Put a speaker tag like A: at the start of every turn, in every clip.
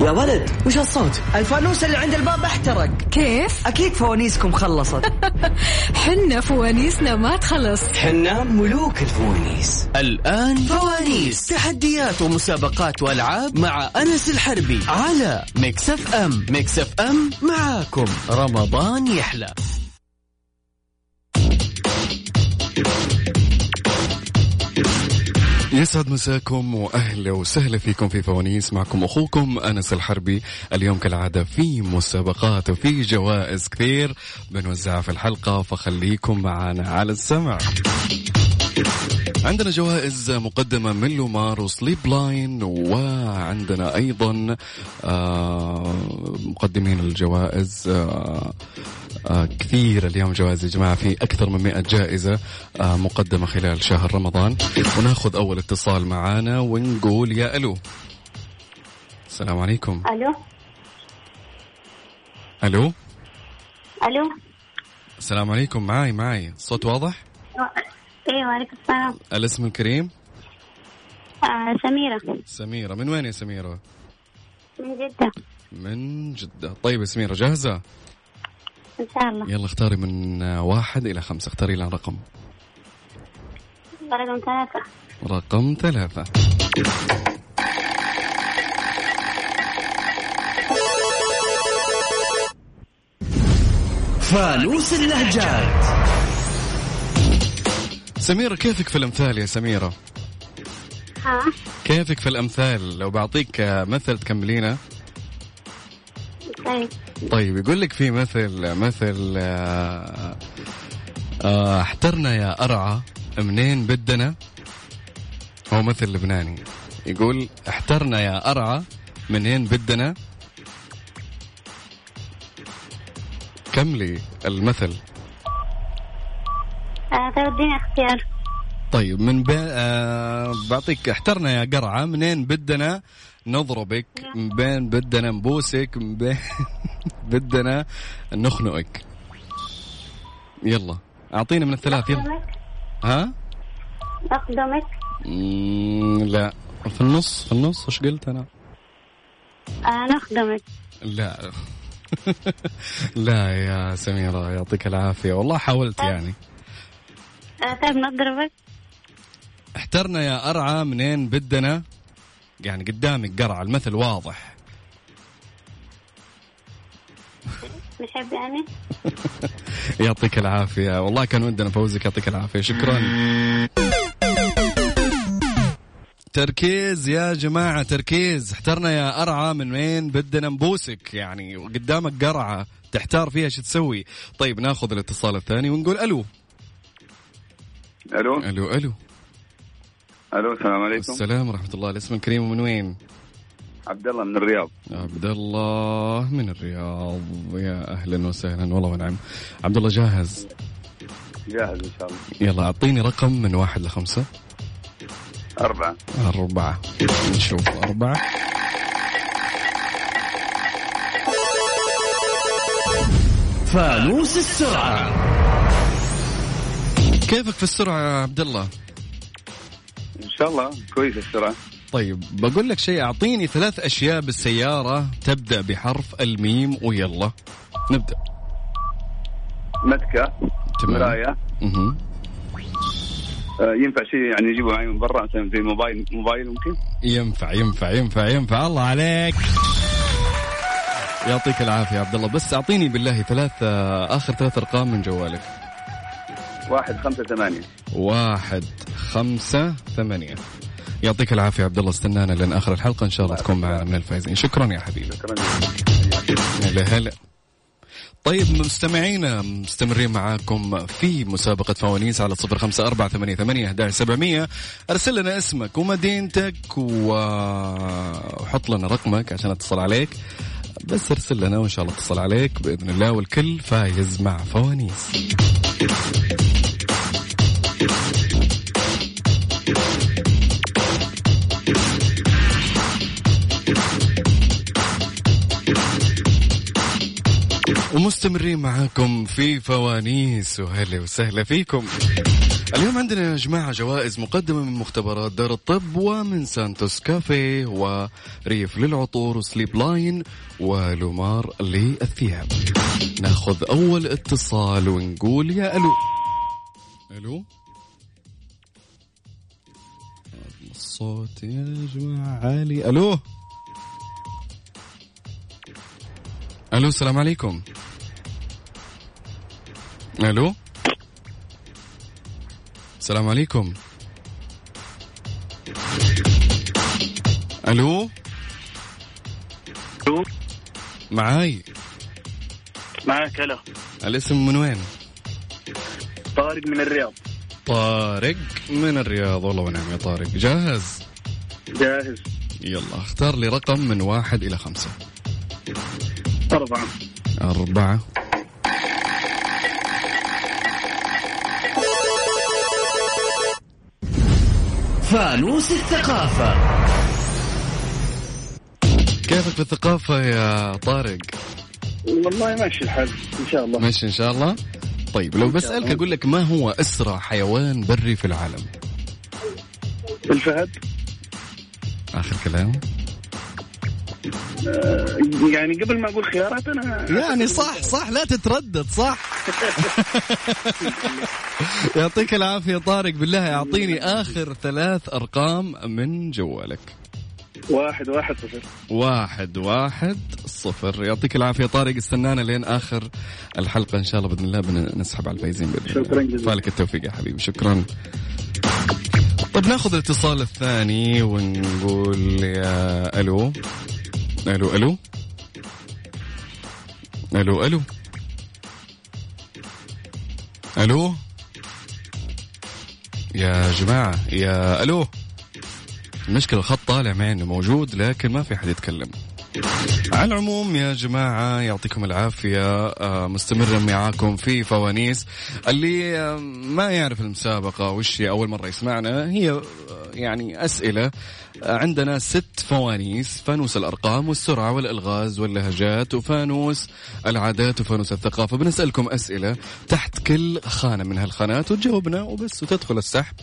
A: يا ولد وش هالصوت؟
B: الفانوس اللي عند الباب احترق
C: كيف؟
B: اكيد فوانيسكم خلصت
C: حنا فوانيسنا ما تخلص
A: حنا ملوك الفوانيس
D: الآن فوانيس تحديات ومسابقات وألعاب مع أنس الحربي على مكسف أم مكسف أم معاكم رمضان يحلى
E: يسعد مساكم واهلا وسهلا فيكم في فوانيس معكم اخوكم انس الحربي اليوم كالعاده في مسابقات وفي جوائز كثير بنوزعها في الحلقه فخليكم معنا على السمع عندنا جوائز مقدمة من لومار وسليب لاين وعندنا أيضا آه، مقدمين الجوائز آه، آه، كثير اليوم جوائز يا جماعة في أكثر من 100 جائزة آه، مقدمة خلال شهر رمضان وناخذ أول اتصال معانا ونقول يا ألو السلام عليكم
F: الو
E: ألو
F: الو
E: السلام عليكم معاي معاي صوت واضح
F: ايوه وعليكم السلام
E: الاسم الكريم
F: آه سميره
E: سميرة من وين يا سميرة
F: من جده
E: من جدة طيب يا سميرة جاهزة
F: ان شاء الله
E: يلا اختاري من واحد إلى خمسة اختاري لنا رقم
F: رقم ثلاثه
E: رقم ثلاثة
D: فانوس اللهجات
E: سميرة كيفك في الأمثال يا سميرة
F: ها
E: كيفك في الأمثال لو بعطيك آه، مثل تكملينه
F: طيب
E: طيب يقول لك في مثل مثل آه، آه، احترنا يا أرعى منين بدنا هو مثل لبناني يقول احترنا يا أرعى منين بدنا كملي المثل
F: آه طيب اديني اختيار
E: طيب من بي... آه بعطيك احترنا يا قرعة منين بدنا نضربك من بين بدنا نبوسك من بين بدنا نخنقك يلا اعطينا من الثلاث يلا
F: اقدمك
E: ها
F: اقدمك
E: مم، لا في النص في النص ايش قلت انا
F: آه نخدمك
E: لا لا يا سميرة يعطيك العافية والله حاولت يعني
F: آه طيب نضربك
E: احترنا يا أرعى منين بدنا يعني قدامك قرعة المثل واضح
F: نحب يعني
E: يعطيك العافية والله كان ودنا فوزك يعطيك العافية شكرا تركيز يا جماعة تركيز احترنا يا أرعى من وين بدنا نبوسك يعني قدامك قرعة تحتار فيها شو تسوي طيب ناخذ الاتصال الثاني ونقول ألو
G: الو
E: ألو ألو
G: الو السلام عليكم
E: أه، السلام ورحمة الله الاسم الكريم من وين
G: عبد الله من الرياض
E: عبد الله من الرياض يا أهلا وسهلا والله ونعم عبد الله جاهز
G: جاهز ان شاء الله
E: يلا أعطيني رقم من واحد لخمسة
G: اربعه
E: أربعة نشوف أربعة
D: فانوس السرعة
E: كيفك في السرعة يا عبد الله؟
G: ان شاء الله كويس السرعه
E: طيب بقول لك شيء أعطيني ثلاث أشياء بالسيارة تبدأ بحرف الميم ويلا نبدأ
G: متكه مرايه
E: مهم.
G: آه، ينفع شيء يعني يجيبه معي من برا مثلا زي موبايل موبايل ممكن
E: ينفع ينفع ينفع ينفع الله عليك يعطيك العافية يا عبد الله بس أعطيني بالله ثلاث آه، آخر ثلاث أرقام من جوالك
G: واحد خمسة ثمانية
E: واحد خمسة ثمانية يعطيك العافية يا عبد الله استنانا لين آخر الحلقة إن شاء الله تكون معنا من الفائزين شكرا يا حبيبي
G: شكرا
E: هلا هلا طيب مستمعينا مستمرين معاكم في مسابقة فوانيس على صفر خمسة أربعة ثمانية ثمانية سبعمية أرسل لنا اسمك ومدينتك و- وحط لنا رقمك عشان أتصل عليك بس أرسل لنا وإن شاء الله أتصل عليك بإذن الله والكل فايز مع فوانيس ومستمرين معاكم في فوانيس وهلا وسهلا فيكم اليوم عندنا يا جماعة جوائز مقدمة من مختبرات دار الطب ومن سانتوس كافيه وريف للعطور وسليب لاين ولومار للثياب ناخذ أول اتصال ونقول يا ألو ألو الصوت يا جماعة عالي ألو ألو السلام عليكم ألو السلام عليكم الو
G: ألو.
E: معاي
G: معك هلا
E: الاسم من وين
G: طارق من الرياض
E: طارق من الرياض والله ونعم يا طارق جاهز
G: جاهز
E: يلا اختار لي رقم من واحد الى خمسة
G: أربعة
E: أربعة
D: فانوس الثقافة
E: كيفك في الثقافة يا طارق
G: والله ماشي الحال إن شاء الله
E: ماشي إن شاء الله طيب لو بسألك أقول لك ما هو أسرع حيوان بري في العالم
G: الفهد
E: آخر كلام
G: يعني قبل ما أقول خيارات أنا
E: يعني صح صح لا تتردد صح يعطيك العافية طارق بالله يعطيني آخر ثلاث أرقام من جوالك
G: واحد واحد صفر
E: واحد واحد صفر يعطيك العافية طارق استنانا لين آخر الحلقة إن شاء الله بإذن الله بنسحب على الفايزين بإذن الله
G: شكراً جزيلاً.
E: فالك التوفيق يا حبيبي شكرا طيب ناخذ الاتصال الثاني ونقول يا ألو ألو ألو ألو ألو ألو يا جماعة يا ألو المشكلة الخط طالع مع انه موجود لكن ما في حد يتكلم. على العموم يا جماعة يعطيكم العافية آه، مستمرة معاكم في فوانيس اللي آه، ما يعرف المسابقة وش هي أول مرة يسمعنا هي آه، يعني أسئلة آه، عندنا ست فوانيس فانوس الأرقام والسرعة والإلغاز واللهجات وفانوس العادات وفانوس الثقافة بنسألكم أسئلة تحت كل خانة من هالخانات وتجاوبنا وبس وتدخل السحب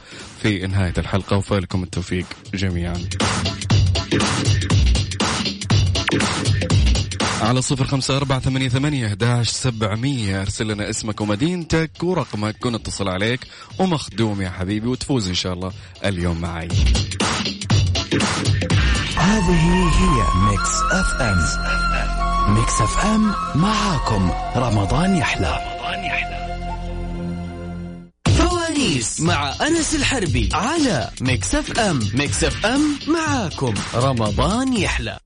E: في نهاية الحلقة وفالكم التوفيق جميعاً على صفر خمسة أربعة ثمانية ثمانية أحداش سبعمية أرسل لنا اسمك ومدينتك ورقمك ونتصل عليك ومخدوم يا حبيبي وتفوز إن شاء الله اليوم معي
A: هذه هي ميكس اف ام ميكس اف ام معاكم رمضان يحلى
D: فوانيس مع أنس الحربي على مكسف أم مكسف أم معاكم رمضان يحلى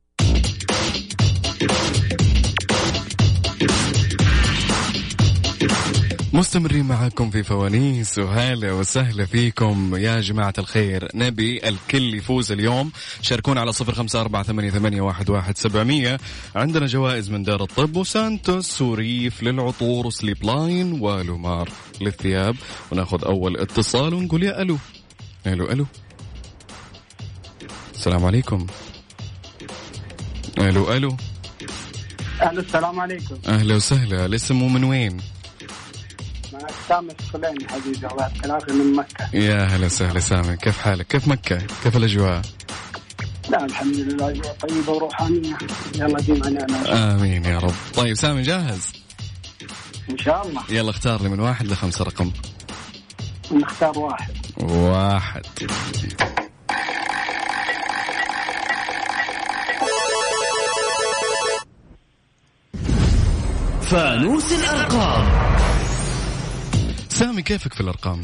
E: مستمرين معاكم في فوانيس وهلا وسهلا فيكم يا جماعة الخير نبي الكل يفوز اليوم شاركونا على صفر خمسة أربعة ثمانية, ثمانية واحد, واحد سبعمية عندنا جوائز من دار الطب وسانتوس وريف للعطور وسليب لاين ولومار للثياب وناخذ أول اتصال ونقول يا ألو ألو ألو السلام عليكم ألو ألو
G: أهلا السلام عليكم
E: أهلا وسهلا الاسم ومن وين؟
G: معك سامي السليم حبيبي الله يعطيك العافية من مكة
E: يا هلا وسهلا سامي كيف حالك كيف مكة كيف الأجواء
G: لا الحمد لله أجواء طيبة وروحانية يلا ديما نعم. نعمة
E: آمين يا رب طيب سامي جاهز
G: إن شاء الله
E: يلا اختار لي من واحد لخمسة رقم
G: نختار واحد
E: واحد
D: فانوس الأرقام
E: سامي كيفك في الأرقام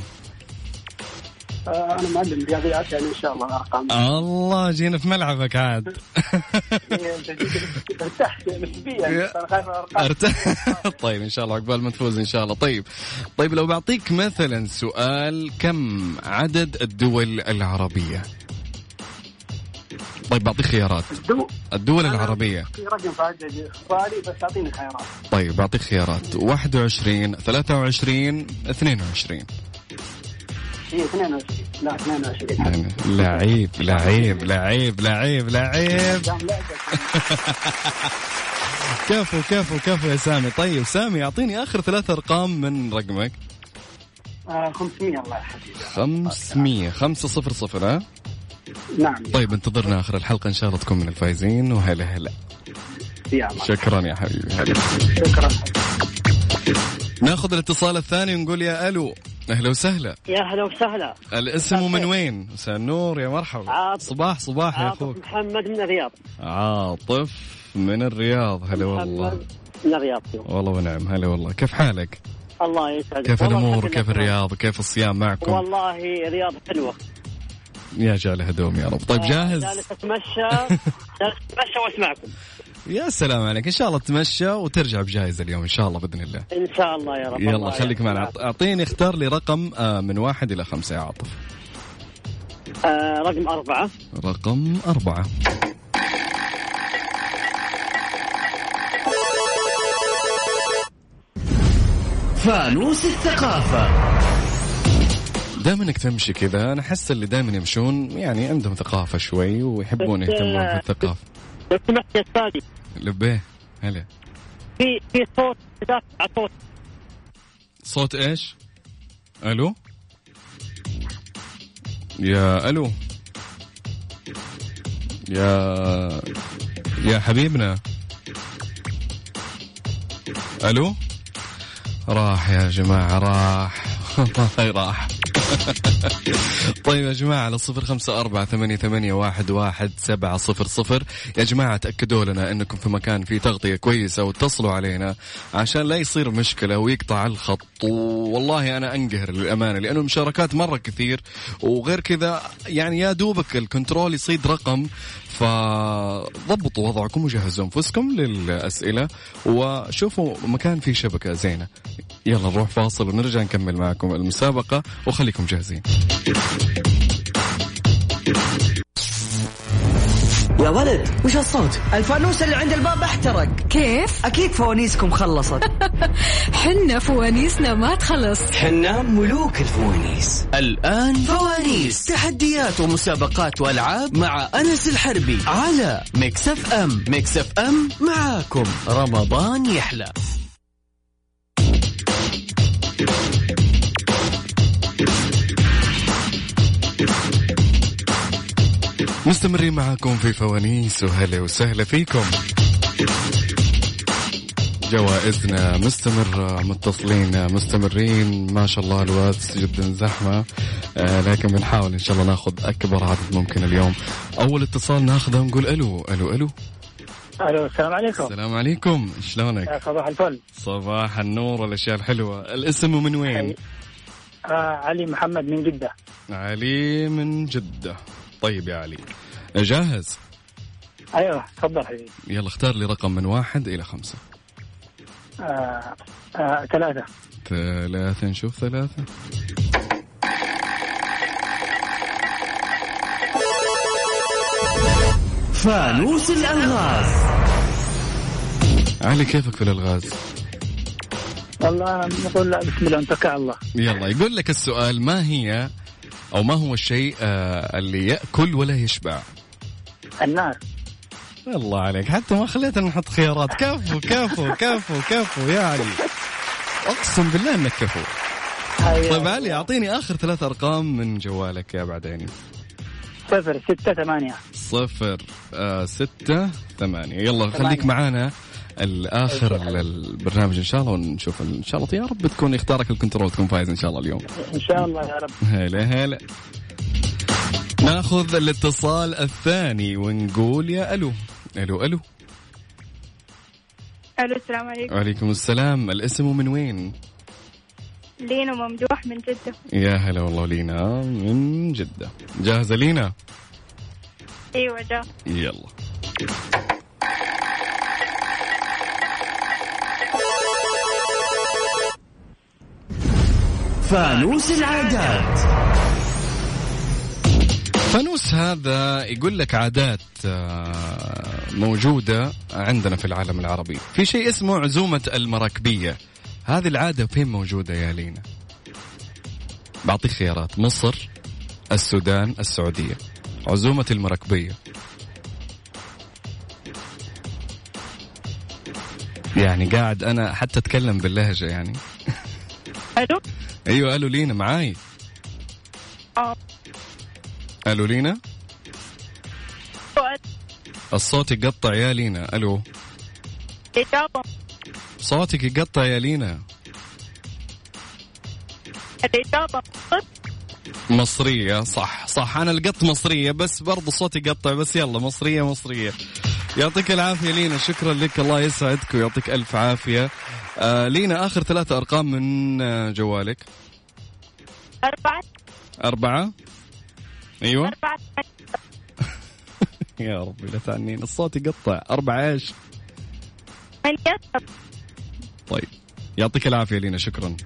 G: آه أنا معلم رياضيات يعني إن شاء الله الأرقام
E: آه. الله جينا في ملعبك عاد
G: أنت إيه، جيت ارتحت نسبيا
E: يا-
G: بس أنا خايف من الأرقام
E: أرت- طيب ان شاء الله عقبال ما تفوز ان شاء الله طيب طيب لو بعطيك مثلا سؤال كم عدد الدول العربية طيب بعطيك خيارات
G: دو
E: الدول العربية
G: في رقم في عدد اختياري بس أعطيني خيارات
E: طيب بعطيك خيارات 21 23 22
G: هي 22 لا 22
E: يعني لعيب لعيب لعيب لعيب لعيب
G: دام لعبة
E: كفو كفو كفو يا سامي طيب سامي اعطيني اخر ثلاث ارقام من رقمك
H: آه 500 الله يحفظك
E: 500 5 0 0 ها
H: نعم
E: طيب انتظرنا اخر الحلقه ان شاء الله تكون من الفايزين وهلا هلا
H: يا الله
E: شكرا يا حبيبي هلا
H: شكرا
E: ناخذ الاتصال الثاني ونقول يا الو اهلا وسهلا
H: يا هلا وسهلا
E: الاسم ومن وين؟ مساء النور يا مرحبا
H: عاطف.
E: صباح صباح يا
H: عاطف
E: اخوك
H: محمد من الرياض
E: عاطف من الرياض هلا والله
H: محمد من الرياض
E: والله ونعم هلا والله كيف حالك؟
H: الله يسعدك
E: كيف
H: والله
E: الامور؟
H: الحمد
E: كيف
H: لله.
E: الرياض؟ كيف الصيام معكم؟
H: والله رياض حلوه
E: يا جال هدوم يا رب طيب جاهز؟
H: جالس اتمشى جالس اتمشى واسمعكم
E: يا سلام عليك ان شاء الله تمشى وترجع بجائزه اليوم ان شاء الله باذن الله
H: ان شاء الله يا رب
E: يلا
H: الله
E: خليك
H: يسعدك.
E: معنا أعط- اعطيني اختار لي رقم آه، من واحد الى خمسه يا عاطف
H: آه رقم اربعه
E: رقم اربعه
D: فانوس الثقافة
E: دائما انك تمشي كذا انا احس اللي دائما يمشون يعني عندهم ثقافه شوي ويحبون
H: بس،
E: يهتمون
H: آه،
E: بالثقافه
H: لو سمحت يا استاذي
E: لبيه هلا
H: في في صوت دافع على صوت
E: صوت ايش؟ الو يا الو يا يا حبيبنا الو راح يا جماعة راح والله راح طيب يا جماعة على صفر خمسة أربعة ثمانية, ثمانية واحد, واحد سبعة صفر صفر يا جماعة تأكدوا لنا أنكم في مكان فيه تغطية كويسة واتصلوا علينا عشان لا يصير مشكلة ويقطع الخط والله أنا أنقهر للأمانة لأنه مشاركات مرة كثير وغير كذا يعني يا دوبك الكنترول يصيد رقم فضبطوا وضعكم وجهزوا أنفسكم للأسئلة وشوفوا مكان فيه شبكة زينة يلا نروح فاصل ونرجع نكمل معكم المسابقة وخليكم جاهزين
B: يا ولد وش الصوت؟ الفانوس اللي عند الباب احترق
C: كيف
B: اكيد فوانيسكم خلصت
C: حنا فوانيسنا ما تخلص
D: حنا ملوك الفوانيس الآن فوانيس تحديات ومسابقات وألعاب مع أنس الحربي على مكسف أم مكسف أم معاكم رمضان يحلى
E: مستمرين معاكم في فوانيس وهلا وسهلا فيكم جوائزنا مستمرة متصلين مستمرين ما شاء الله الواتس جدا زحمة آه لكن بنحاول إن شاء الله ناخذ أكبر عدد ممكن اليوم أول اتصال ناخذه نقول ألو ألو ألو
H: الو السلام عليكم
E: السلام عليكم شلونك
H: صباح الفل
E: صباح النور والأشياء الحلوة الاسم من وين
H: آه علي محمد من جده
E: علي من جدة طيب يا علي جاهز
H: ايوه تفضل حبيبي
E: يلا اختار لي رقم من واحد إلى خمسة
H: آه آه ثلاثه
E: ثلاثة نشوف ثلاثة
D: فانوس الألغاز
E: علي كيفك في الألغاز
H: والله نقول لا بسم الله نتوكل على الله
E: يلا يقول لك السؤال ما هي أو ما هو الشيء آه، اللي يأكل ولا يشبع
H: النار
E: الله عليك حتى ما خليتنا نحط خيارات كفو كفو كفو كفو يا علي أقسم بالله أنك كفو
H: أيوة.
E: طيب علي أعطيني آخر ثلاث أرقام من جوالك يا بعد عيني
H: صفر ستة ثمانية
E: صفر آه ستة ثمانية يلا خليك معانا الآخر البرنامج إن شاء الله ونشوف إن شاء الله يا رب تكون يختارك الكنترول تكون فايز إن شاء الله اليوم
H: إن شاء الله يا رب
E: هلا هلا ناخذ الاتصال الثاني ونقول يا الو الو الو
I: الو السلام عليكم
E: وعليكم السلام الاسم من وين؟
I: لينا ممدوح من جدة
E: يا هلا والله لينا من جدة جاهزة لينا؟
I: ايوه جا
E: يلا
D: فانوس العادات
E: فانوس هذا يقول لك عادات آه، موجودة عندنا في العالم العربي في شيء اسمه عزومة المراكبية هذه العادة فين موجودة يا لينا بعطيك خيارات مصر السودان السعودية عزومة المراكبية يعني قاعد أنا حتى أتكلم باللهجة يعني
I: الو
E: ايوه الو لينا معاي
I: آه.
E: الو لينا الصوت يقطع يا لينا الو
I: الإجابة
E: صوتك يقطع يا لينا
I: الإجابة صدق
E: مصرية صح صح أنا لقط مصرية بس برضو صوتي قطع بس يلا مصرية مصرية يعطيك العافية لينا شكرا لك الله يسعدك ويعطيك ألف عافية آه لينا آخر ثلاثة أرقام من آه، جوالك
I: أربعة
E: أربعة أيوة
I: أربعة
E: يا ربي لا تعنين الصوت يقطع أربعة إيش
I: ثمانية
E: طيب يعطيك العافية لينا شكرا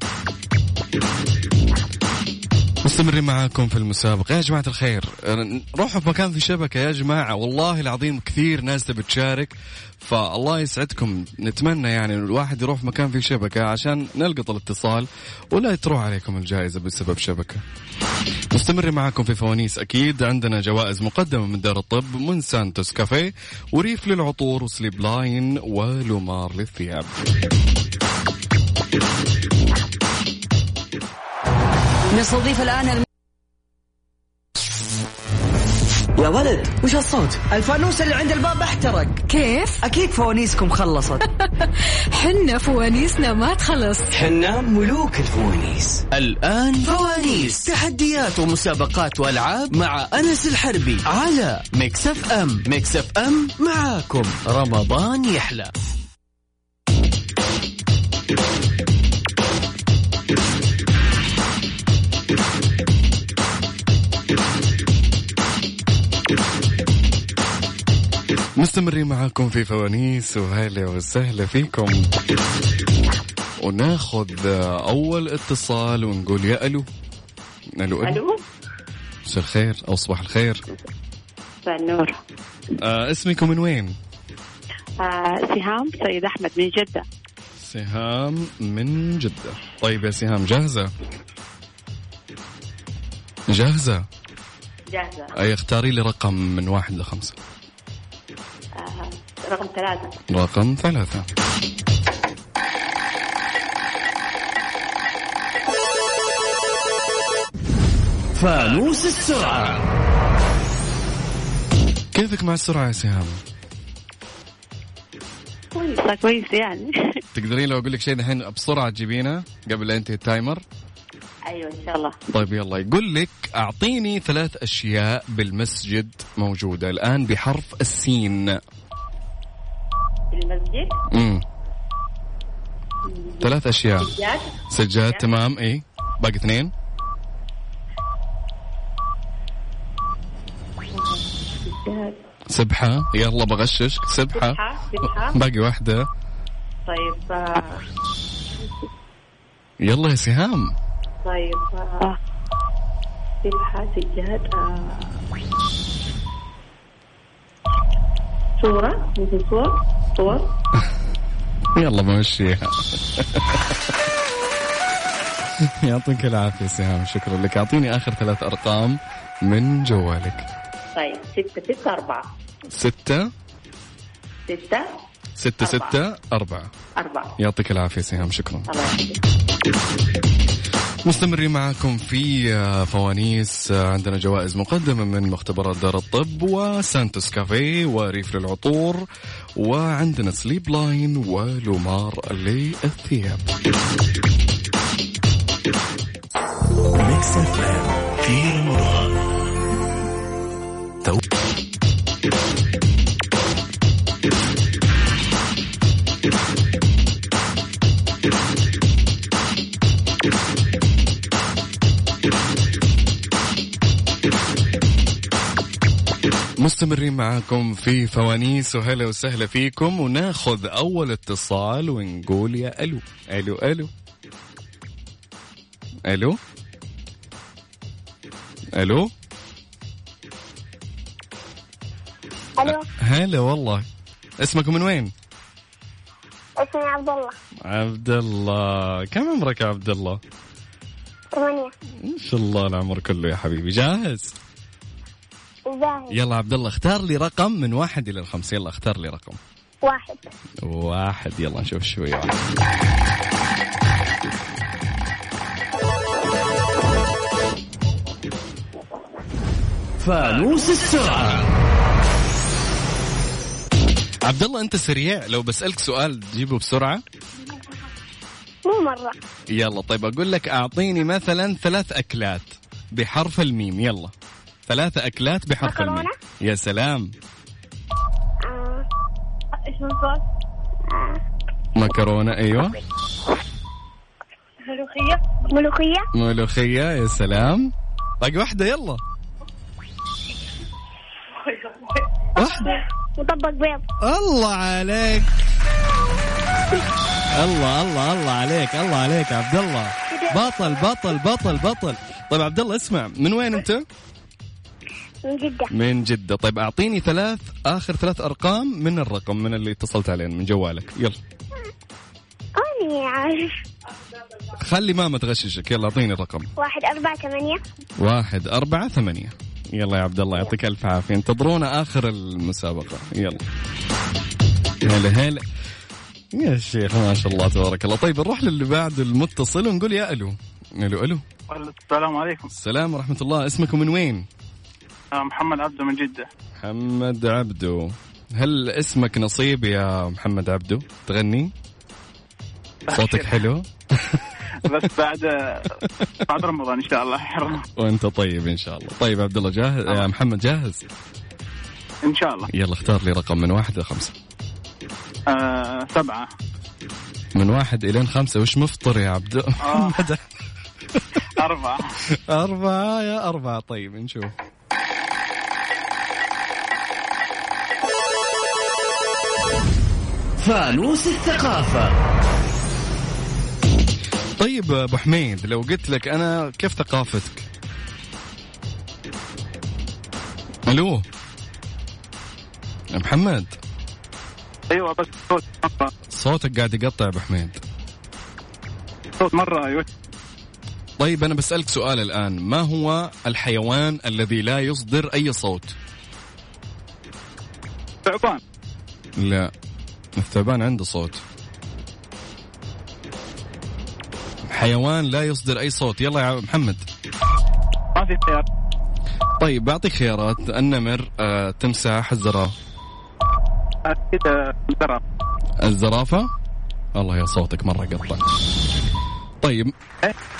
E: مستمرين معاكم في المسابقة يا جماعة الخير أنا- روحوا في مكان في شبكة يا جماعة والله العظيم كثير ناس تبي تشارك فالله يسعدكم نتمنى يعني إنه الواحد يروح في مكان في شبكة عشان نلقط الاتصال ولا تروح عليكم الجائزة بسبب شبكة مستمرين معاكم في فوانيس اكيد عندنا جوائز مقدمه من دار الطب من سانتوس كافيه وريف للعطور وسليب لاين ولومار للثياب
B: نستضيف الآن الم... يا ولد وش الصوت؟ الفانوس اللي عند الباب احترق
C: كيف
B: أكيد فوانيسكم خلصت
C: حنا فوانيسنا ما تخلص
B: حنا ملوك الفوانيس
D: الآن فوانيس تحديات ومسابقات وألعاب مع أنس الحربي على مكسف أم مكسف أم معاكم رمضان يحلى
E: مستمرين معاكم في فوانيس وهلا وسهلا فيكم وناخذ اول اتصال ونقول يا الو الو الو
F: الو
E: مساء الخير او صباح الخير
F: مساء النور
E: آه اسمك من وين؟
F: آه، سهام سيد احمد من جده
E: سهام من جدة طيب يا سهام جاهزة جاهزة
F: جاهزه
E: أي اختاري لي رقم من واحد لخمسة
F: آه، رقم ثلاثه
E: رقم ثلاثة
D: فانوس السرعة
E: كيفك مع السرعة يا سهام
F: كويسه كويسه يعني
E: تقدرين لو أقول لك شيء دحين بسرعة تجيبينه قبل لا ينتهي التايمر
F: ايوه ان شاء الله
E: طيب يلا يقول لك أعطيني ثلاث أشياء بالمسجد موجودة الآن بحرف السين
F: المسجد
E: مم. ثلاث أشياء
F: جاد
E: سجاد تمام اي باقي اثنين سبحة يلا بغششك سبحة
F: سبحة، سبحة.
E: باقي واحدة
F: طيب آه،
E: يلا يا سهام
F: طيب آه، سبحه سجاد آه. صوره مثل صور صور
E: يلا بمشيها يعطيك العافية سهام شكرا لك أعطيني آخر ثلاث أرقام من جوالك
F: طيب ستة ستة أربعة
E: ستة
F: ستة
E: ستة
F: أربعة.
E: ستة أربعة
F: أربعة
E: يعطيك العافية سهام شكرا
F: الله يعافيك
E: مستمرين معاكم في آه، فوانيس آه، عندنا جوائز مقدمة من مختبرات دار الطب وسانتوس كافيه وريف للعطور وعندنا سليب لاين ولومار للثياب
A: ميكس اف ام في رمضان تو-
E: مستمرين معاكم في فوانيس وهلا وسهلا فيكم وناخذ أول اتصال ونقول يا ألو ألو ألو ألو ألو
I: ألو
E: هلا والله اسمك من وين؟
I: اسمي عبد الله
E: عبد الله كم عمرك يا عبد الله؟
I: ثمانية
E: ان شاء الله العمر كله يا حبيبي جاهز؟
I: جاهز
E: يلا عبد الله اختار لي رقم من واحد الى الخمسة يلا اختار لي رقم
I: واحد
E: واحد يلا نشوف شوي واحد.
D: فانوس السرعة
E: عبد الله انت سريع لو بسالك سؤال تجيبه بسرعه
I: مو مرة
E: يلا طيب اقول لك اعطيني مثلا ثلاث اكلات بحرف الميم يلا ثلاثة أكلات بحرف الميم
I: مكرونة؟
E: يا سلام
I: آه، ايش من صوت؟
E: مكرونة أيوة
I: ملوخية ملوخية
E: ملوخية يا سلام باقي واحدة يلا واحدة
I: مطبق بيض
E: الله عليك الله الله الله عليك الله عليك عبد الله بطل بطل بطل بطل طيب عبد الله اسمع من وين انت؟
I: من جدة
E: من جدة طيب اعطيني ثلاث اخر ثلاث ارقام من الرقم من اللي اتصلت عليه من جوالك يلا
I: أنا يعني عارف
E: خلي ماما تغششك يلا اعطيني الرقم
I: واحد أربعة ثمانية
E: واحد أربعة ثمانية يلا يا عبد الله يعطيك ألف عافية انتظرونا آخر المسابقة يلا هلا هلا يا شيخ ما شاء الله تبارك الله طيب نروح للي بعد المتصل ونقول يا ألو ألو ألو
H: السلام عليكم
E: السلام ورحمة الله اسمك من وين
H: أنا محمد عبده من جدة
E: محمد عبدو هل اسمك نصيب يا محمد عبدو تغني صوتك حلو
H: بس بعد بعد رمضان إن شاء الله حرام.
E: وانت طيب ان شاء الله طيب عبد الله جاهز يا محمد جاهز
H: إن شاء الله
E: يلا اختار لي رقم من واحد لخمسة
H: آه سبعة
E: من واحد إلين خمسة وش مفطر يا عبد
H: آه. أربعة
E: أربعة يا أربعة طيب نشوف
D: فانوس الثقافة
E: طيب أبو حميد لو قلت لك أنا كيف ثقافتك ألو يا محمد
H: أيوة بس صوت مرة
E: صوتك قاعد يقطع يا أبو حميد
H: صوت مرة أيوة
E: طيب أنا بسألك سؤال الآن ما هو الحيوان الذي لا يصدر أي صوت
H: ثعبان
E: لا الثعبان عنده صوت حيوان لا يصدر أي صوت يلا يا محمد
H: ما في خيار
E: طيب بعطيك خيارات النمر آه، تمساح الزرافة
H: أكيد آه، ترى
E: الزرافة الله يا صوتك مرة قطع طيب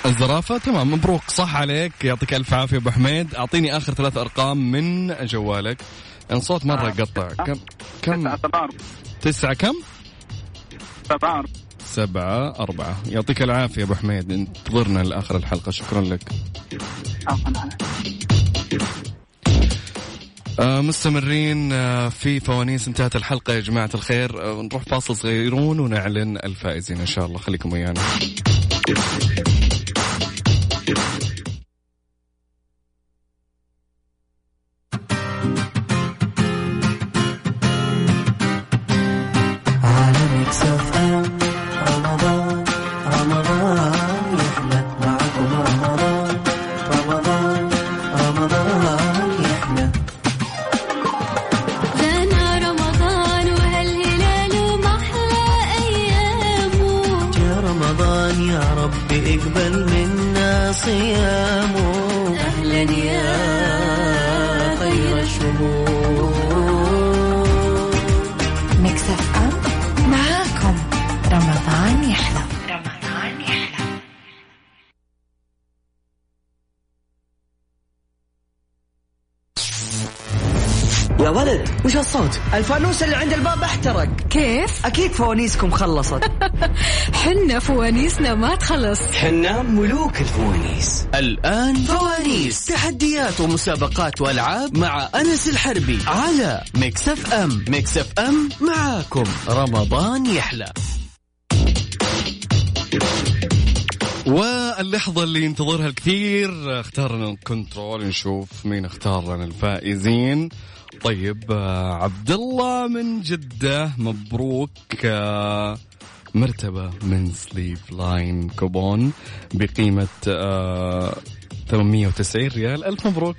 E: الزرافة تمام مبروك صح عليك يعطيك ألف عافية أبو حميد أعطيني آخر ثلاث أرقام من جوالك لأن صوت مرة
H: آه،
E: قطع كم كم
H: تسعة تبارك
E: تسعة كم
H: تبارك
E: سبعة أربعة يعطيك العافية أبو حميد انتظرنا لآخر الحلقة شكرا لك آه، مستمرين آه، في فوانيس انتهت الحلقة يا جماعة الخير آه، نروح فاصل صغيرون ونعلن الفائزين إن شاء الله خليكم ويانا
B: على ميكس اف ام رمضان رمضان يحلى معكم رمضان رمضان رمضان يحلى
C: جانا رمضان وهالهلال محلى أيامه
B: يا رمضان يا رب اقبل منا صيامه
C: أهلا يا
B: خير الشهور
J: ميكس اف ام معاكم رمضان يحلى رمضان يحلى
B: يا ولد وش الصوت؟ الفانوس اللي عند الباب احترق
C: كيف
B: اكيد فوانيسكم خلصت
C: حنا فوانيسنا ما تخلص
B: حنا ملوك الفوانيس
D: الآن فوانيس تحديات ومسابقات وألعاب مع أنس الحربي على مكسف أم مكسف أم معاكم رمضان يحلى
E: واللحظة اللي ينتظرها الكثير آه، اختارنا الكنترول نشوف مين اختار لنا الفائزين طيب آه، عبد الله من جدة مبروك آه، مرتبة من سليب لاين كوبون بقيمة آه، 890 ريال ألف مبروك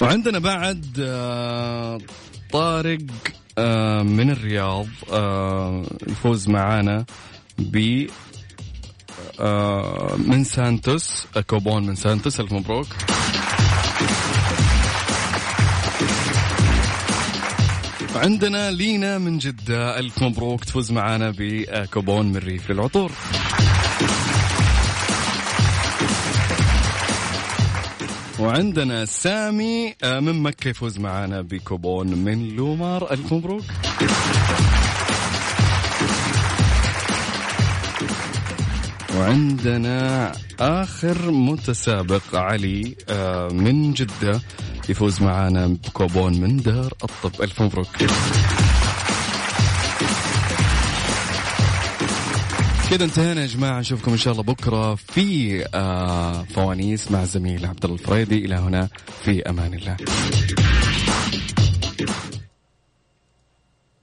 E: وعندنا بعد آه، طارق آه، من الرياض آه، يفوز معانا ب آه من سانتوس آه، كوبون من سانتوس الف مبروك عندنا لينا من جدة ألف مبروك تفوز معنا بكوبون من ريف للعطور وعندنا سامي آه، من مكة يفوز معنا بكوبون من لومار ألف مبروك وعندنا آخر متسابق علي آه، من جدة يفوز معنا بكوبون من دار الطب ألف مبروك كده انتهينا يا جماعة نشوفكم إن شاء الله بكرة في آه، فوانيس مع الزميل عبد الله الفريدي إلى هنا في أمان الله